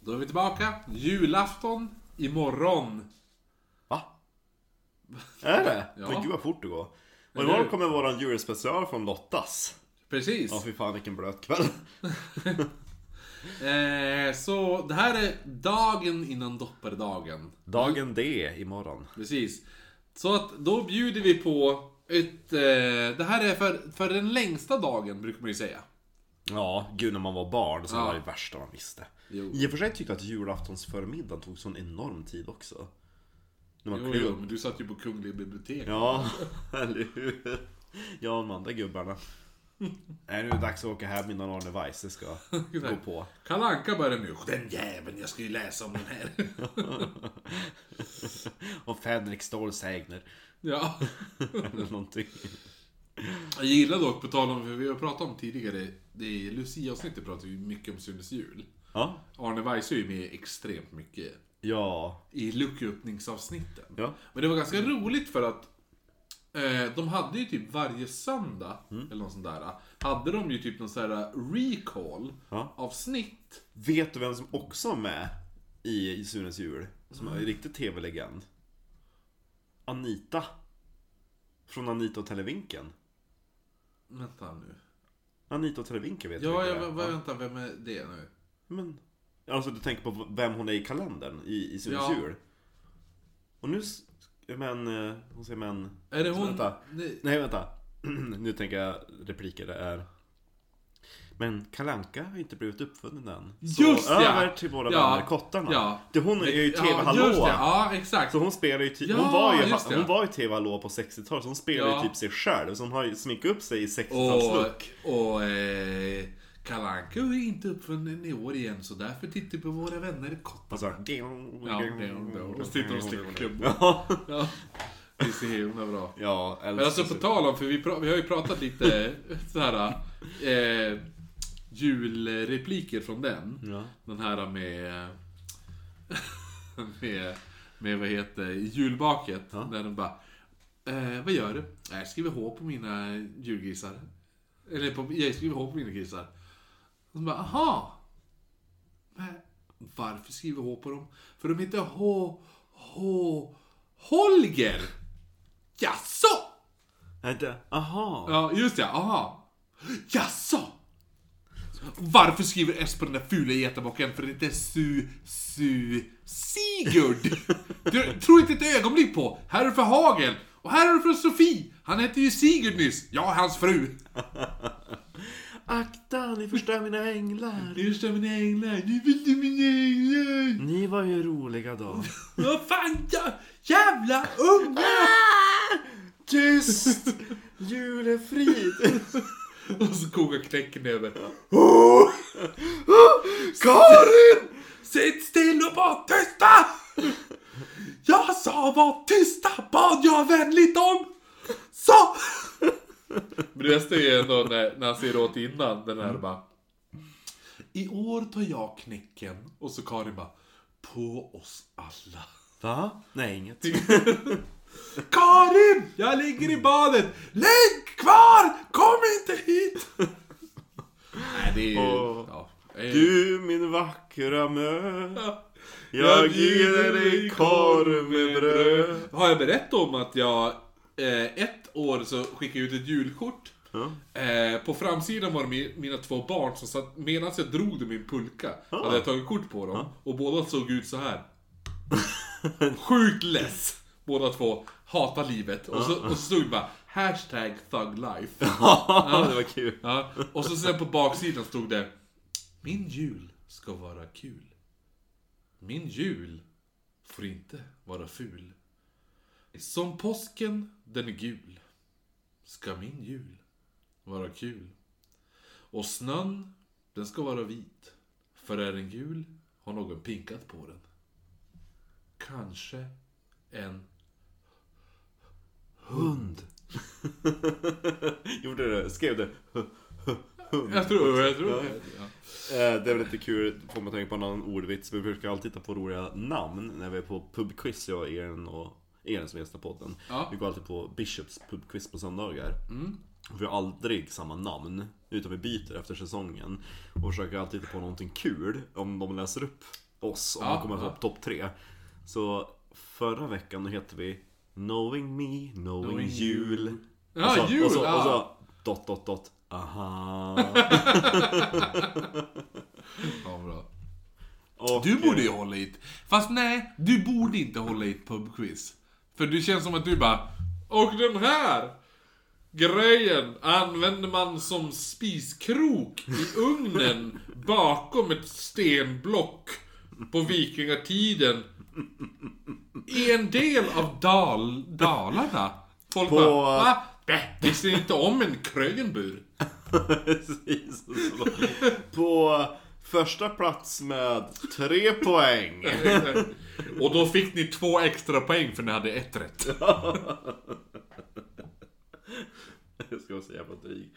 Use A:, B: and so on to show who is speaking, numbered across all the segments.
A: Då är vi tillbaka. Julafton imorgon.
B: Va? Är det?
A: Ja.
B: Men gud vad fort det går. Och
A: Eller
B: imorgon
A: hur?
B: kommer våran julspecial från Lottas.
A: Precis.
B: Ja fy fan vilken blöt kväll.
A: Eh, så det här är dagen innan dopparedagen.
B: Dagen D imorgon.
A: Precis. Så att då bjuder vi på ett... Eh, det här är för, för den längsta dagen, brukar man ju säga.
B: Ja, gud när man var barn så
A: Ja.
B: var det värsta man visste.
A: Jo.
B: I och för sig tyckte jag att julaftonsförmiddagen tog sån enorm tid också. När man
A: Jo,
B: klev
A: jo,
B: upp.
A: men du satt ju på Kungliga biblioteket.
B: Ja, eller hur? Jag och de andra gubbarna. Nej, nu är det dags att åka hem innan Arne Weise ska gå på.
A: Kalle Anka börjar nu. Den jäveln, jag ska ju läsa om den här.
B: Och Fänrik Ståhls hägner.
A: ja.
B: Eller någonting.
A: Jag gillar dock, på tal om, för vi har pratat om tidigare, det är Lucia-avsnittet pratar vi mycket om Sunes jul.
B: Ja.
A: Arne Weise är ju med extremt mycket
B: Ja.
A: i lucköppningsavsnitten.
B: Ja.
A: Men det var ganska roligt för att eh, de hade ju typ varje söndag,
B: Mm.
A: eller något sånt där, hade de ju typ någon sån här
B: Ja.
A: recall-avsnitt.
B: Vet du vem som också var med i Sunes jul? Som är en riktig tv-legend. Anita. Från Anita och Televinken.
A: Vänta nu.
B: Anita och Televinken vet du
A: Ja,
B: vilka
A: jag,
B: det är.
A: vä- vänta, vem är det nu?
B: Men, alltså du tänker på vem hon är i kalendern i, i Sunes
A: Ja.
B: jul? Och nu, s- men, eh, hon säger men...
A: Är det hon?
B: Vänta.
A: Nej.
B: Nej vänta. nu tänker jag repliker, det är... Men Kalanka har inte blivit uppfunnen än. Så
A: Just ja!
B: över till våra
A: Ja.
B: vänner kottarna.
A: Ja.
B: Det, hon är ju
A: Ja,
B: TV-hallå.
A: just det. Ja, exakt.
B: Så hon spelar ju typ,
A: Ja,
B: hon var ju,
A: just det.
B: hon var ju TV Hallå på 60-talet, så hon spelar
A: Ja.
B: ju typ sig själv. Så hon har ju sminkat upp sig i
A: Och,
B: 60-talslook.
A: och eh, Kalle Anka är ju inte uppfunnen i år igen, så därför tittar vi på våra vänner Kottar.
B: Och så här...
A: Ja, och så sitter de och slickar klubbor.
B: Ja,
A: Ja, det är så himla bra.
B: ja eller
A: Men alltså
B: så-
A: på tal om, för vi, pra- vi har ju pratat lite så här eh, julrepliker från den.
B: Ja.
A: Den här med, med, med vad heter julbaket.
B: Ja.
A: Där de bara, eh, vad gör du? "Nej, Jag skriver H på mina julgrisar. Eller på, jag skriver H på mina grisar. Och de bara, aha. Men varför skriver H på dem? För de heter H, H, Holger. Jaså?
B: Nej, det- Aha.
A: Ja, just det. Aha. Jaså? Varför skriver S på den där fula getabocken? För det heter Su... Su... Sigurd! Du tror inte ett ögonblick på. Här är du för Hagel. Och här är du för Sofie. Han hette ju Sigurd nyss. Ja, hans fru.
B: Akta, ni förstör mina änglar.
A: Just det, mina änglar. Nu vill du mina änglar.
B: Ni var ju roliga då.
A: Vad fan, ja, jävla unga!
B: Tyst! Julefrid!
A: Och så kokar knäcken över.
B: Karin!
A: Sitt still och var tysta! Jag sa var tysta, bad jag vänligt om. Så! Men det bästa är ju ändå när, när han säger åt innan, den här bara... I år tar jag knäcken. Och så Karin bara... På oss alla.
B: Va? Nej, inget.
A: Karin! Jag ligger i badet! Ligg kvar! Kom inte hit! Nej, det är ju...
B: Åh.
A: Ja. Eh,
B: Du min vackra mö.
A: ja.
B: Jag bjuder dig korv med bröd.
A: Har jag berättat om att jag eh, ett år så skickade jag ut ett julkort.
B: Ja.
A: Eh, på framsidan var det mi- mina två barn som satt, medan jag drog dem i en pulka,
B: Ah.
A: hade jag tagit kort på dem. Och båda såg ut så här. Sjukt less! Båda två, hatar livet. Och
B: Ah.
A: så, och så stod det bara hashtag thug life.
B: Ja, det var kul.
A: Ja, och så sen på baksidan stod det Min jul ska vara kul. Min jul får inte vara ful. Som påsken den är gul ska min jul vara kul. Och snön den ska vara vit. För är den gul har någon pinkat på den. Kanske en...
B: Hund. Gjorde du det? Skrev du?
A: Jag tror, jag tror ja.
B: Eh, Det är väl lite kul, får man tänka på någon ordvits. Vi brukar alltid hitta på roliga namn när vi är på pubquiz, jag och Eren och Eren som gästar podden.
A: Ja. Mm.
B: Vi går alltid på Bishops pubquiz på söndagar. Vi har aldrig samma namn, utan vi byter efter säsongen. Och försöker alltid hitta på någonting kul om de läser upp oss om
A: Ja,
B: man kommer
A: ja.
B: ihåg topp tre. Så förra veckan då hette vi Knowing me, knowing,
A: Knowing
B: jul.
A: you.
B: Och så-
A: Ja, jul!
B: Och så, och
A: ja.
B: så dot, dot, dot. Aha.
A: Ja, bra.
B: Och,
A: Du borde ju hålla i ett... Fast nej, du borde inte hålla i ett pubquiz. För det känns som att du bara... Och den här grejen använder man som spiskrok i ugnen bakom ett stenblock på vikingatiden. I en del av Dal Dalarna. Folk
B: På-
A: bara, va? Bäh, Visste ni inte om en krögenbur?
B: Precis. Så. På första plats med tre poäng.
A: Och då fick ni två extra poäng för ni hade ett rätt.
B: Jag ska vara så jävla dryg.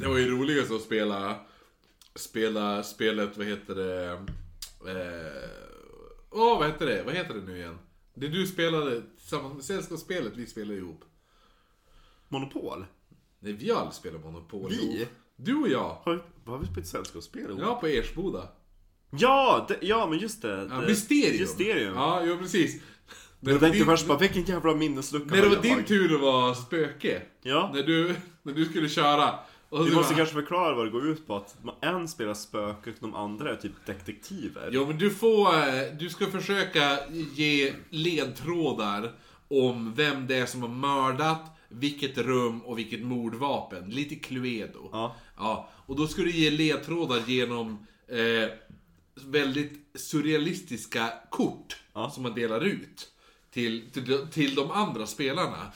A: Det var ju roligast att spela, spela spelet, vad heter det... Eh, åh, vad heter det? Vad heter det nu igen? Det du spelade tillsammans med Sällskapsspelet, vi spelade ihop.
B: Monopol?
A: Nej, vi har aldrig spelat Monopol
B: Vi?
A: ihop. Du och jag.
B: Har vi, har vi spelat sällskapsspel ihop?
A: Ja, på Ersboda.
B: Ja, det, ja, men just det.
A: Ja,
B: det
A: Mysterium.
B: Eh, Mysterium.
A: Ja, jo, precis. När
B: Jag tänkte
A: din-
B: först bara, vilken jävla minneslucka
A: När det typ-
B: har
A: var
B: jag?
A: din tur att vara spöke.
B: Ja,
A: När du, när du skulle köra. Och så
B: vi
A: bara-
B: måste kanske förklara vad det går ut på. Att man- en spelar spöke och de andra är typ detektiver.
A: Jo, men du får... eh, Du ska försöka ge ledtrådar om vem det är som har mördat, vilket rum och vilket mordvapen. Lite Cluedo.
B: Ja.
A: Ja, och då ska du ge ledtrådar genom eh, väldigt surrealistiska kort
B: Ja.
A: som man delar ut till, till, de- till de andra spelarna.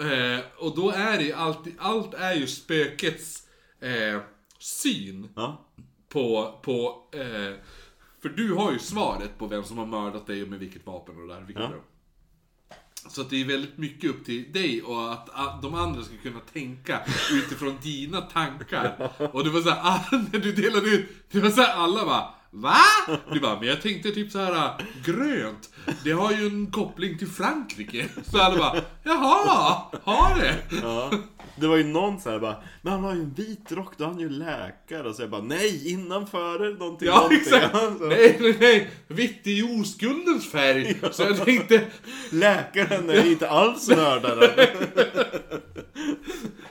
A: Eh, och då är det ju alltid, allt är ju spökets eh, syn
B: Ja.
A: på, på eh, för du har ju svaret på vem som har mördat dig och med vilket vapen och det där. Vilket
B: Ja.
A: rum. Så att det är väldigt mycket upp till dig och att ah, de andra ska kunna tänka utifrån dina tankar. Och det var såhär, ah, när du delade ut, det var såhär alla bara Va? Du bara, men jag tänkte typ så här ah, grönt. Det har ju en koppling till Frankrike. Så alla bara, jaha, har det?
B: Ja. Det var ju någon så här bara, men han har ju en vit rock, då är han ju läkare. Och så jag bara, nej, innan före någonting.
A: Ja,
B: någonting. alltså.
A: exakt!
B: Så,
A: Nej, nej, nej! Vitt är ju oskuldens färg! Så jag tänkte...
B: Läkaren är inte alls mördaren.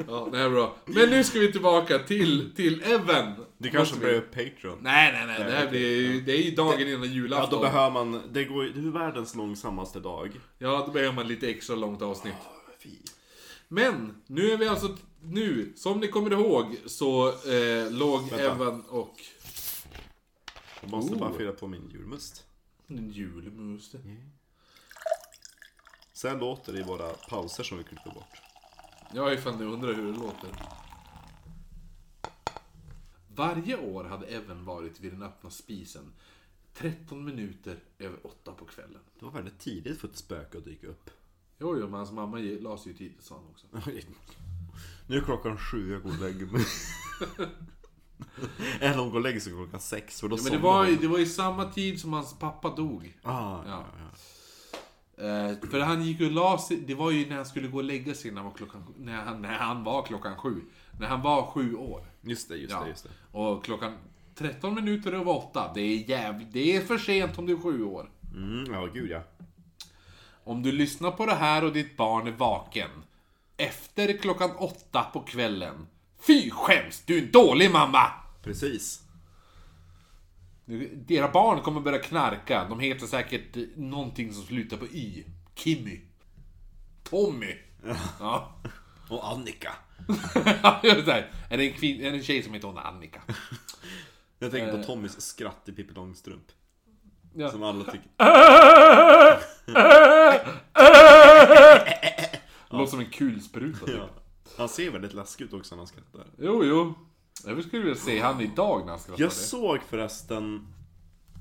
A: Ja, det här är bra. Men nu ska vi tillbaka till, till Evan.
B: Det kanske
A: Måste
B: blir
A: vi...
B: Patreon.
A: Nej, nej, nej. Det här blir ju... Det är ju dagen innan
B: Ja, då
A: julafton.
B: behöver man, det, går, ju- det är världens långsammaste dag.
A: Ja, då behöver man lite extra långt avsnitt.
B: Fy.
A: Men, nu är vi alltså... Nu, som ni kommer ihåg, så eh, låg Evan och...
B: Jag måste
A: Oh.
B: bara fylla på min julmust.
A: En julmus.
B: Sen låter det i våra pauser som vi klipper bort.
A: Jag har ju fan undrar hur det låter. Varje år hade Evan varit vid den öppna spisen 13 minuter över 8 på kvällen.
B: Det var väldigt tidigt för ett spöke att dyka upp.
A: Jo, jo, men hans mamma ge- la sig ju tidigt sa han också.
B: nu är klockan sju, jag går och lägger mig. Eller hon går och lägger sig klockan sex, för då
A: Ja, men det var, ju, det var ju samma tid som hans pappa dog.
B: Ah,
A: Ja.
B: ja. Ja,
A: Eh, för han gick och la sig, det var ju när han skulle gå och lägga sig när han var klockan, när han, när han var klockan sju. När han var sju år.
B: Just det, just
A: Ja.
B: det, just det.
A: Och klockan 13 minuter över åtta, det är jävligt, det är för sent om du är sju år.
B: Mm, ja, gud ja.
A: Om du lyssnar på det här och ditt barn är vaken efter klockan åtta på kvällen. Fy skäms, du är en dålig mamma!
B: Precis.
A: Nu- Dera barn kommer börja knarka. De heter säkert eh, någonting som slutar på Y. Kimmy. Tommy. Ja.
B: Och Annika.
A: Jag är så här, är, det en kvin- är det en tjej som heter hon Annika?
B: Jag tänker på Tommys skratt i Pippi Långstrump.
A: Eh. Ja.
B: Som alla tycker...
A: Låter som en kulspruta. Typ.
B: Ja. Han ser väldigt läskig ut också när han skrattar.
A: Jo, jo. Jag skulle vilja se han idag när han skrattar.
B: Jag såg förresten,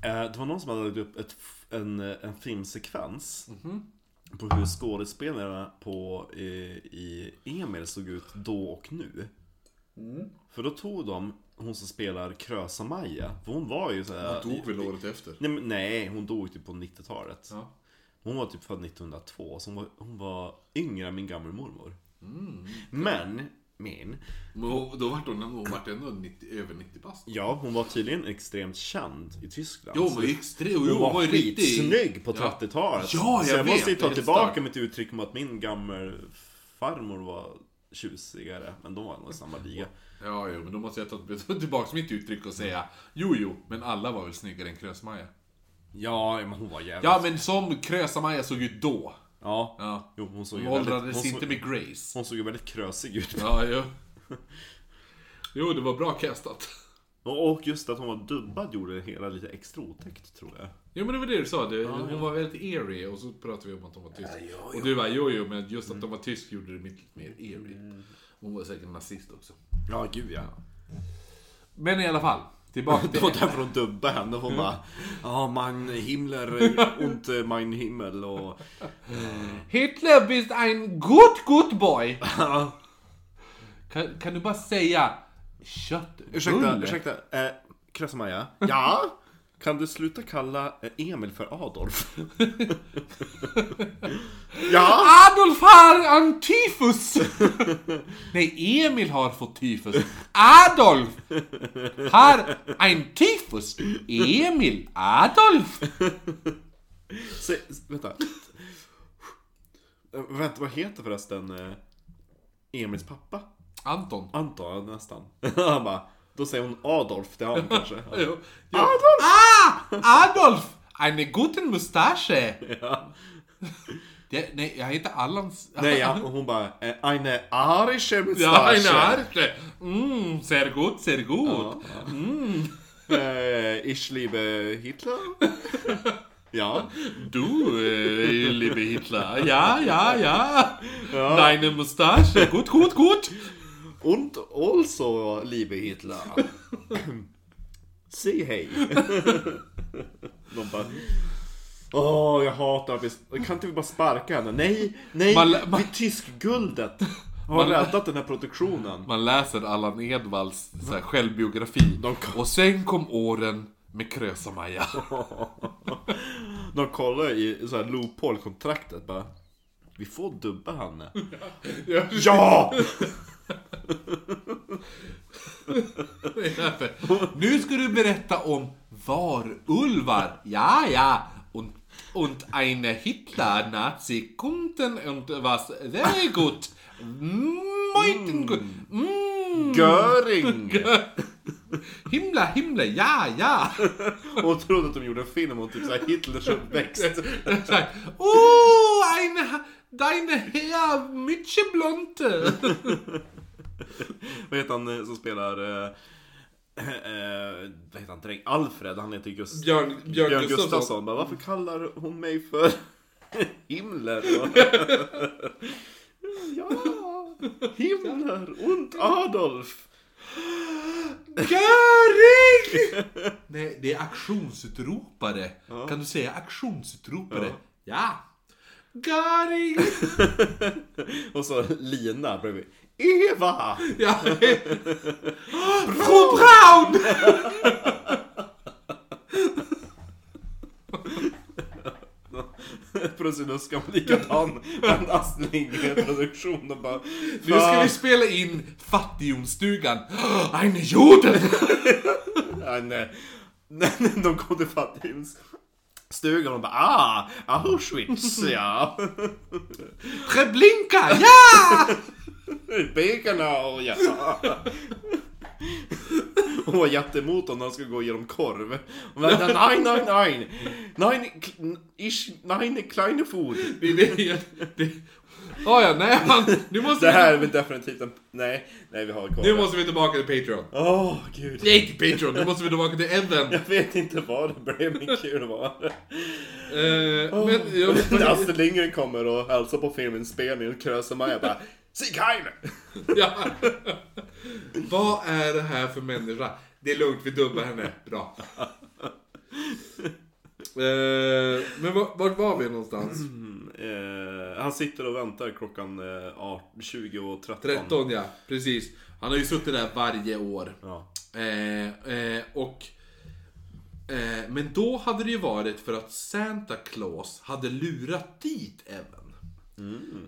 B: eh, det var någon som hade lagt upp ett, f- en, eh, en filmsekvens
A: Mhm.
B: på hur skådespelarna på, eh, i Emil såg ut då och nu.
A: Mm.
B: För då tog de hon som spelar Krösa-Maja, för hon var ju såhär...
A: Dog väl året efter?
B: Nej, men, nej, hon dog ju typ på 90-talet.
A: Ja.
B: Hon var
A: Mm.
B: typ född 1902, så hon var, hon var yngre än min gammelmormor. Men min.
A: Men hon, då vart hon, hon vart ändå 90, över 90 bast.
B: Ja, hon var tydligen extremt känd i Tyskland.
A: Jo,
B: Så
A: men extrem, jo,
B: hon var
A: riktig-
B: skitsnygg på
A: Ja.
B: 30-talet.
A: Ja,
B: Så
A: jag
B: jag måste ju
A: vet,
B: ta
A: det är
B: tillbaka
A: starkt.
B: mitt uttryck om att min gammel farmor var tjusigare. Men de var nog i samma liga.
A: Ja, jo, men då måste jag ta ta tillbaka mitt uttryck och säga Jo, jo, men alla var väl snyggare än Krösmaja.
B: Ja, men hon var jävligt...
A: Ja, men som Krösamaja såg ut då.
B: Ja.
A: Ja.
B: Jo, hon såg
A: Hon
B: ju väldigt...
A: åldrades
B: Hon
A: inte
B: såg,
A: med Grace.
B: hon såg ju väldigt krösig ut.
A: Ja, jo. Jo, det var bra castat.
B: Och och just att hon var dubbad gjorde det hela lite extra otäckt, tror jag.
A: Jo, men det var det du sa. Det, hon var väldigt eerie och så pratade vi om att hon var tysk. Och du var jo, jo, men just att hon var tysk gjorde det mycket mer eerie. Hon var säkert nazist också.
B: Ja, gud ja.
A: Men i alla fall, tillbaka
B: Det
A: till...
B: var därför de dubbade henne. Hon bara Ja, mein Himmler und mein eh, Himmel och...
A: Hitler bist ein gut, gut boy! Kan, kan du bara säga kött?
B: Ursäkta,
A: bulle?
B: ursäkta. Eh, Krösa-Maja? Ja? Kan du sluta kalla eh, Emil för Adolf? ja?
A: Adolf har en tyfus! Nej, Emil har fått tyfus. Adolf har en tyfus. Emil, Adolf.
B: Se, vänta. Eh, Vänta, vad heter förresten eh, Emils pappa?
A: Anton.
B: Anton, ja, nästan. Han bara, då säger hon Adolf till honom kanske.
A: Jo, jo. Adolf! Ah! Adolf! Eine guten Mustache!
B: Ja.
A: Det, nej, jag heter Allans...
B: Nej, ja, och hon bara, eh, eine arische
A: Ja,
B: Mustache.
A: eine Arche. Mm, sehr gut, sehr gut.
B: Eh, ich liebe Hitler. ja.
A: Du, äh, liebe Hitler. Ja, ja, ja.
B: Ja.
A: Deine Mustache. Gut, gut, gut.
B: Und also, liebe Hitler. Säg hej. De bara... Åh, jag hatar att vi... Kan inte vi bara sparka henne? Nej, nej!
A: Man lä- man-
B: Vi tyskguldet har
A: Man-
B: räddat den här produktionen.
A: Man läser Allan Edwalls så här, självbiografi.
B: De kom-
A: Och sen kom åren med Krösa-Maja.
B: De kollar i så här loophole-kontraktet bara. Vi får dubba henne. ja!
A: nu ska du berätta om varulvar. Ja, ja. Und, und eine Hitler-Nazi kunden und was very good. Meuten gut. Mm.
B: Göring!
A: Himla, himla, ja, ja.
B: Hon trodde att de gjorde en film om typ så här Hitlers uppväxt.
A: Så här, Oh, eine, deine Herr Mützeblonte.
B: Vad heter han eh, som spelar... Eh, eh, vad heter han? Dräng? Alfred, han heter Gust
A: Björn, Björn, Gustafsson.
B: Bara, varför kallar hon mig för Himmler? ja, Himmler und Adolf.
A: Göring! Nej, det är aktionsutropare. Kan du säga aktionsutropare? Ja. Göring!
B: Och så Lina bredvid. Eva!
A: Ja. Fru Braun!
B: Plötsligt nu ska hon likadan med en Astrid Lindgren-produktion och bara...
A: Nu ska vi spela in Fattighjonsstugan. Eine Juden!
B: Nej, nej. Nej, nej, De kom till fattigstugan och bara ah, Auschwitz ja.
A: Treblinka, ja!
B: Birkenau ja. Hon var jätteemot om han skulle gå genom korv. Hon bara, nej, nej, nej. Nej, kl- ich, nej, kleine food.
A: Det är det. det. Ah, ja, nej, man, nu, måste
B: Det här är
A: vi,
B: väl definitivt en... Nej, nej vi har
A: nu
B: korv.
A: måste vi tillbaka till Patreon.
B: Åh, gud.
A: Nej, till Patreon. Nu måste vi tillbaka till Evan.
B: Jag vet inte vad det blev, men kul var det.
A: Eh, men, jag,
B: När Astrid Lindgren kommer och hälsar på filminspelningen och krösar Maja bara Sieg Heil!
A: Ja. Vad är det här för människa? Det är lugnt, vi dubbar henne. Bra. Eh, men var, vart var vi någonstans?
B: Mm. Eh, han sitter och väntar klockan eh, 18, 20 och 13.
A: 13 ja, precis. Han har ju suttit där varje år.
B: Ja.
A: Eh, eh, och... Eh, men då hade det ju varit för att Santa Claus hade lurat dit Evan.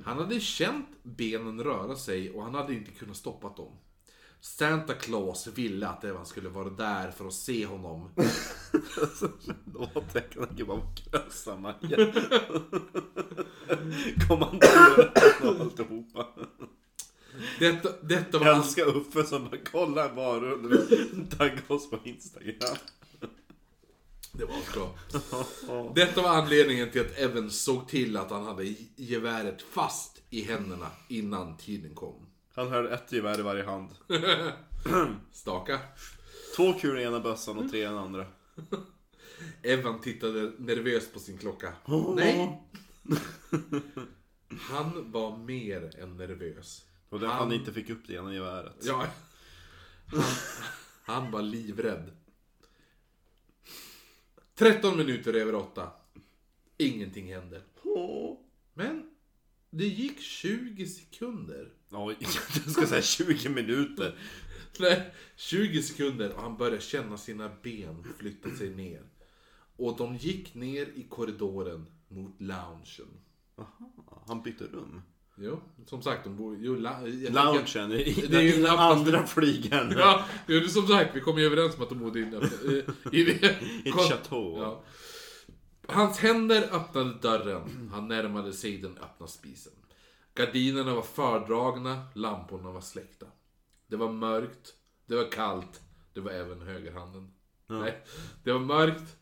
A: Han hade känt benen röra sig och han hade inte kunnat stoppa dem. Santa Claus ville att Evan skulle vara där för att se honom.
B: Låttecknarna kan bara krösa Maja. Kommandorer och alltihopa.
A: Detta, detta var
B: Jag
A: hans...
B: älskar Uffe som bara kollar en varulv. Tagga oss på Instagram.
A: Det var bra. Detta var anledningen till att Evans såg till att han hade ge- geväret fast i händerna innan tiden kom.
B: Han höll ett gevär i varje hand.
A: Staka.
B: Två kulor i ena bössan och tre i den andra.
A: Evan tittade nervöst på sin klocka. Nej! Han var mer än nervös.
B: Och det han inte fick upp det ena geväret.
A: Ja. Han, han var livrädd. 13 minuter över åtta. Ingenting hände. Men det gick 20 sekunder.
B: Oj, jag ska säga 20 minuter.
A: Nej, 20 sekunder och han började känna sina ben flytta sig ner. Och de gick ner i korridoren mot loungen.
B: Han bytte rum.
A: Jo, som sagt, de bor ju... la- jag tänker-
B: Loungen, i, i,
A: Det är ju
B: i den
A: knappast-
B: andra flygeln.
A: Ja, det är som sagt, vi kom ju överens om att de bodde inne. I, i,
B: I ett chateau.
A: Ja. Hans händer öppnade dörren. Han närmade sig den öppna spisen. Gardinerna var fördragna, lamporna var släckta. Det var mörkt, det var kallt, det var även högerhanden. Nej, det var mörkt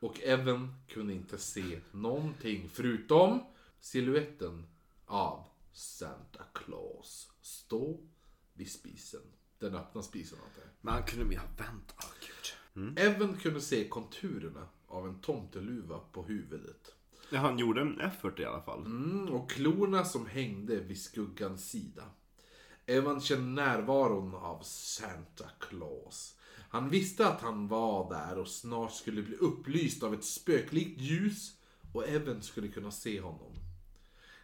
A: och även kunde inte se någonting förutom siluetten av Santa Claus stå vid spisen. Den öppna spisen antar jag.
B: Men han kunde vi ha väntat. Åh, gud.
A: Evan kunde se konturerna av en tomteluva på huvudet.
B: Ja, han gjorde en effort i alla fall.
A: Mm, och klorna som hängde vid skuggans sida. Evan kände närvaron av Santa Claus. Han visste att han var där och snart skulle bli upplyst av ett spöklikt ljus och Evan skulle kunna se honom.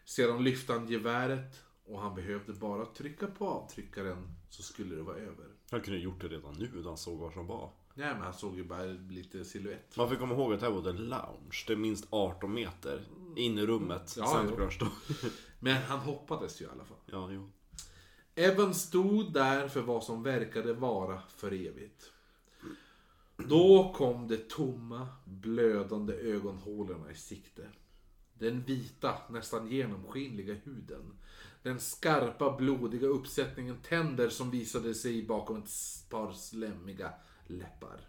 A: Sedan lyfte han geväret och han behövde bara trycka på avtryckaren så skulle det vara över.
B: Han kunde ha gjort det redan nu då han såg var som var.
A: Nej men han såg ju bara lite silhuett.
B: Man får komma ihåg att det här var en lounge. Det är minst 18 meter in i rummet.
A: Ja,
B: Santa
A: jo.
B: Claus då.
A: Men han hoppades ju i alla fall.
B: Ja, jo.
A: Evan stod där för vad som verkade vara för evigt. Då kom de tomma, blödande ögonhålorna i sikte. Den vita, nästan genomskinliga huden. Den skarpa, blodiga uppsättningen tänder som visade sig bakom ett par slemmiga läppar.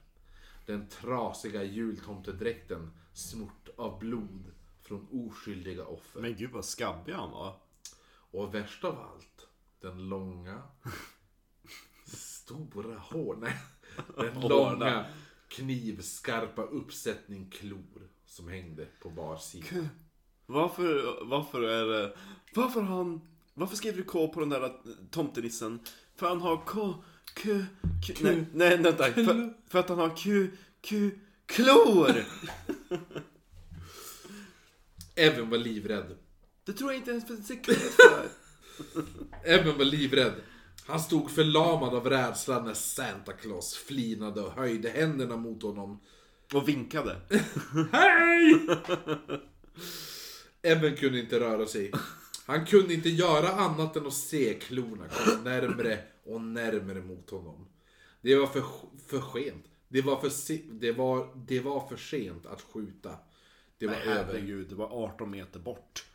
A: Den trasiga jultomtedräkten smort av blod från oskyldiga offer.
B: Men gud vad skabbig han var.
A: Och värst av allt, den långa, stora, hårda, den långa, knivskarpa uppsättning klor som hängde på var sida.
B: Varför, varför är det... Varför har han... Varför skriver du K på den där äh, tomtenissen? För han har K... Q... Q... Nej, nej vänta. För, för att han har Q... Q... Klor!
A: Evan var livrädd.
B: Det tror jag inte ens för en sekund för.
A: Evan var livrädd. Han stod förlamad av rädsla när Santa Claus flinade och höjde händerna mot honom.
B: Och vinkade.
A: Hej! Evan kunde inte röra sig. Han kunde inte göra annat än att se klorna komma närmre och närmre mot honom. Det var för, för sent. Det var för, se, det, var, det var för sent att skjuta. Det var över.
B: det var 18 meter bort.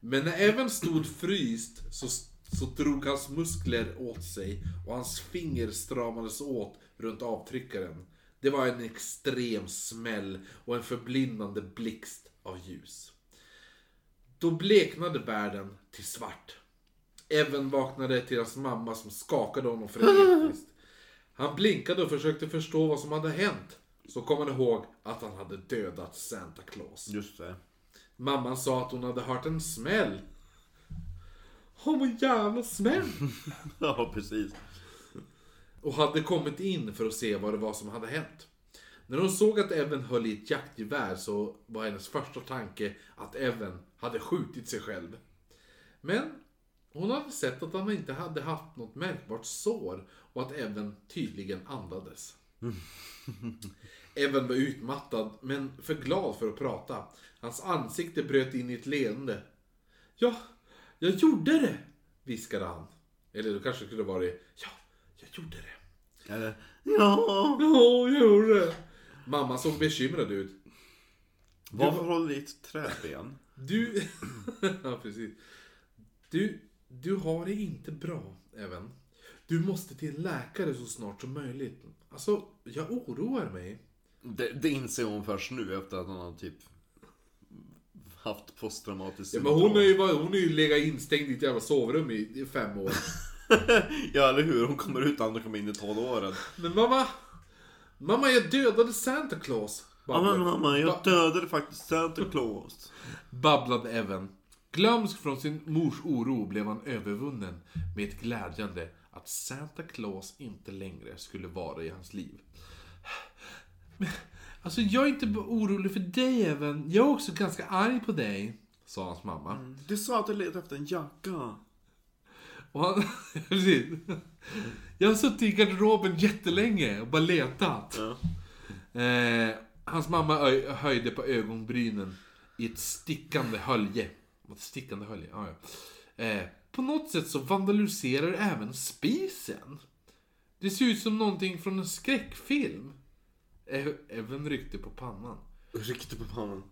A: Men när Evan stod fryst så, så drog hans muskler åt sig och hans finger stramades åt runt avtryckaren. Det var en extrem smäll och en förblindande blixt av ljus. Då bleknade världen till svart. Evan vaknade till hans mamma som skakade honom frenetiskt. Han blinkade och försökte förstå vad som hade hänt. Så kom han ihåg att han hade dödat Santa Claus.
B: Just det.
A: Mamman sa att hon hade hört en smäll. Åh, vad jävla smäll!
B: Ja, precis.
A: Och hade kommit in för att se vad det var som hade hänt. När hon såg att Evan höll i ett jaktgevär så var hennes första tanke att Evan hade skjutit sig själv. Men hon hade sett att han inte hade haft något märkbart sår och att Evan tydligen andades. Evan var utmattad men för glad för att prata. Hans ansikte bröt in i ett leende. Ja, jag gjorde det, viskade han. Eller det kanske skulle vara det. Ja, jag gjorde det.
B: Eller, Eh, ja.
A: Ja, jag gjorde det. Mamma såg bekymrad ut.
B: Varför håller du i ett träben?
A: Du... ja, precis. Du, du har det inte bra, även. Du måste till en läkare så snart som möjligt. Alltså, jag oroar mig.
B: Det, det inser hon först nu efter att hon har typ haft posttraumatiskt
A: Ja, men hon är ju, bara- hon är ju legat instängd i ett jävla sovrum i, i fem år.
B: ja, eller hur? Hon kommer ut när hon kommer in i tonåren.
A: Men mamma! Mamma, jag dödade Santa Claus! babblade-
B: mamma,
A: jag
B: dödade faktiskt Santa Claus.
A: babblade Evan. Glömsk från sin mors oro blev han övervunnen med ett glädjande att Santa Claus inte längre skulle vara i hans liv. Men, Alltså jag är inte bara orolig för dig Evan. Jag är också ganska arg på dig. Sa hans mamma.
B: Du sa att du letade efter en jacka.
A: Och han, precis. Jag har suttit i garderoben jättelänge och bara letat. Eh, hans mamma ö- höjde på ögonbrynen i ett stickande hölje. Ett stickande hölje, ja, ja. Eh, på något sätt så vandaliserar även spisen. Det ser ut som någonting från en skräckfilm. Ev- Även ryckte på pannan.
B: Ryckte på pannan.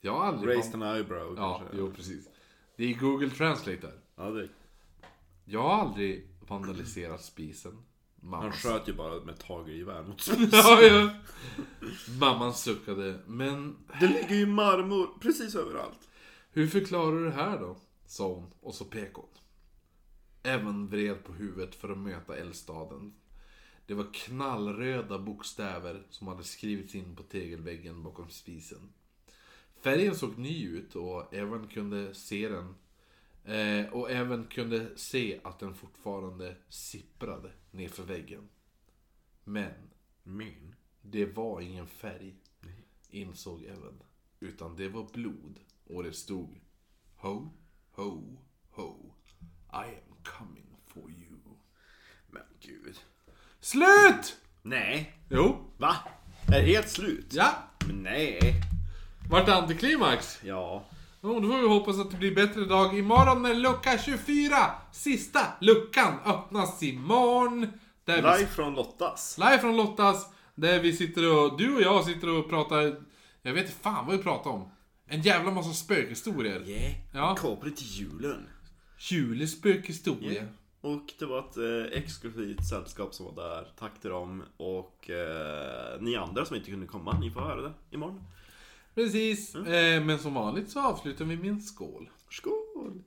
A: Jag har aldrig...
B: Raised an eyebrow
A: ja,
B: kanske.
A: jo precis. Det är Google Translate där.
B: Ja, det...
A: Jag har aldrig vandaliserat spisen. Mamma
B: Han sköt ju bara med tagelgevär mot
A: Ja, ja. Mamman suckade. Men
B: Det ligger ju marmor precis överallt.
A: hur förklarar du det här då? Sa hon och så pekade hon. Även vred på huvudet för att möta eldstaden. Det var knallröda bokstäver som hade skrivits in på tegelväggen bakom spisen. Färgen såg ny ut och Evan kunde se den. Eh, och Evan kunde se att den fortfarande sipprade nerför väggen. Men
B: Min.
A: Det var ingen färg, insåg Evan. Utan det var blod och det stod Ho, ho, ho. I am coming for you.
B: Men gud.
A: Slut!
B: Nej.
A: Jo.
B: Va? Är det helt slut?
A: Ja.
B: Men nej.
A: Vart antiklimax?
B: Ja.
A: Jo, då får vi hoppas att det blir bättre dag imorgon när lucka 24, sista luckan, öppnas imorgon. Där vi
B: Live från Lottas.
A: Live från Lottas, där vi sitter och, du och jag sitter och pratar, jag vet inte fan vad vi pratar om. En jävla massa spökhistorier. Ja.
B: Kopplar till julen.
A: Julis spökhistoria.
B: Och det var ett eh, exklusivt sällskap som var där. Tack till dem. Och eh, ni andra som inte kunde komma, ni får höra det imorgon.
A: Precis. Eh, men som vanligt så avslutar vi med en skål.
B: Skål!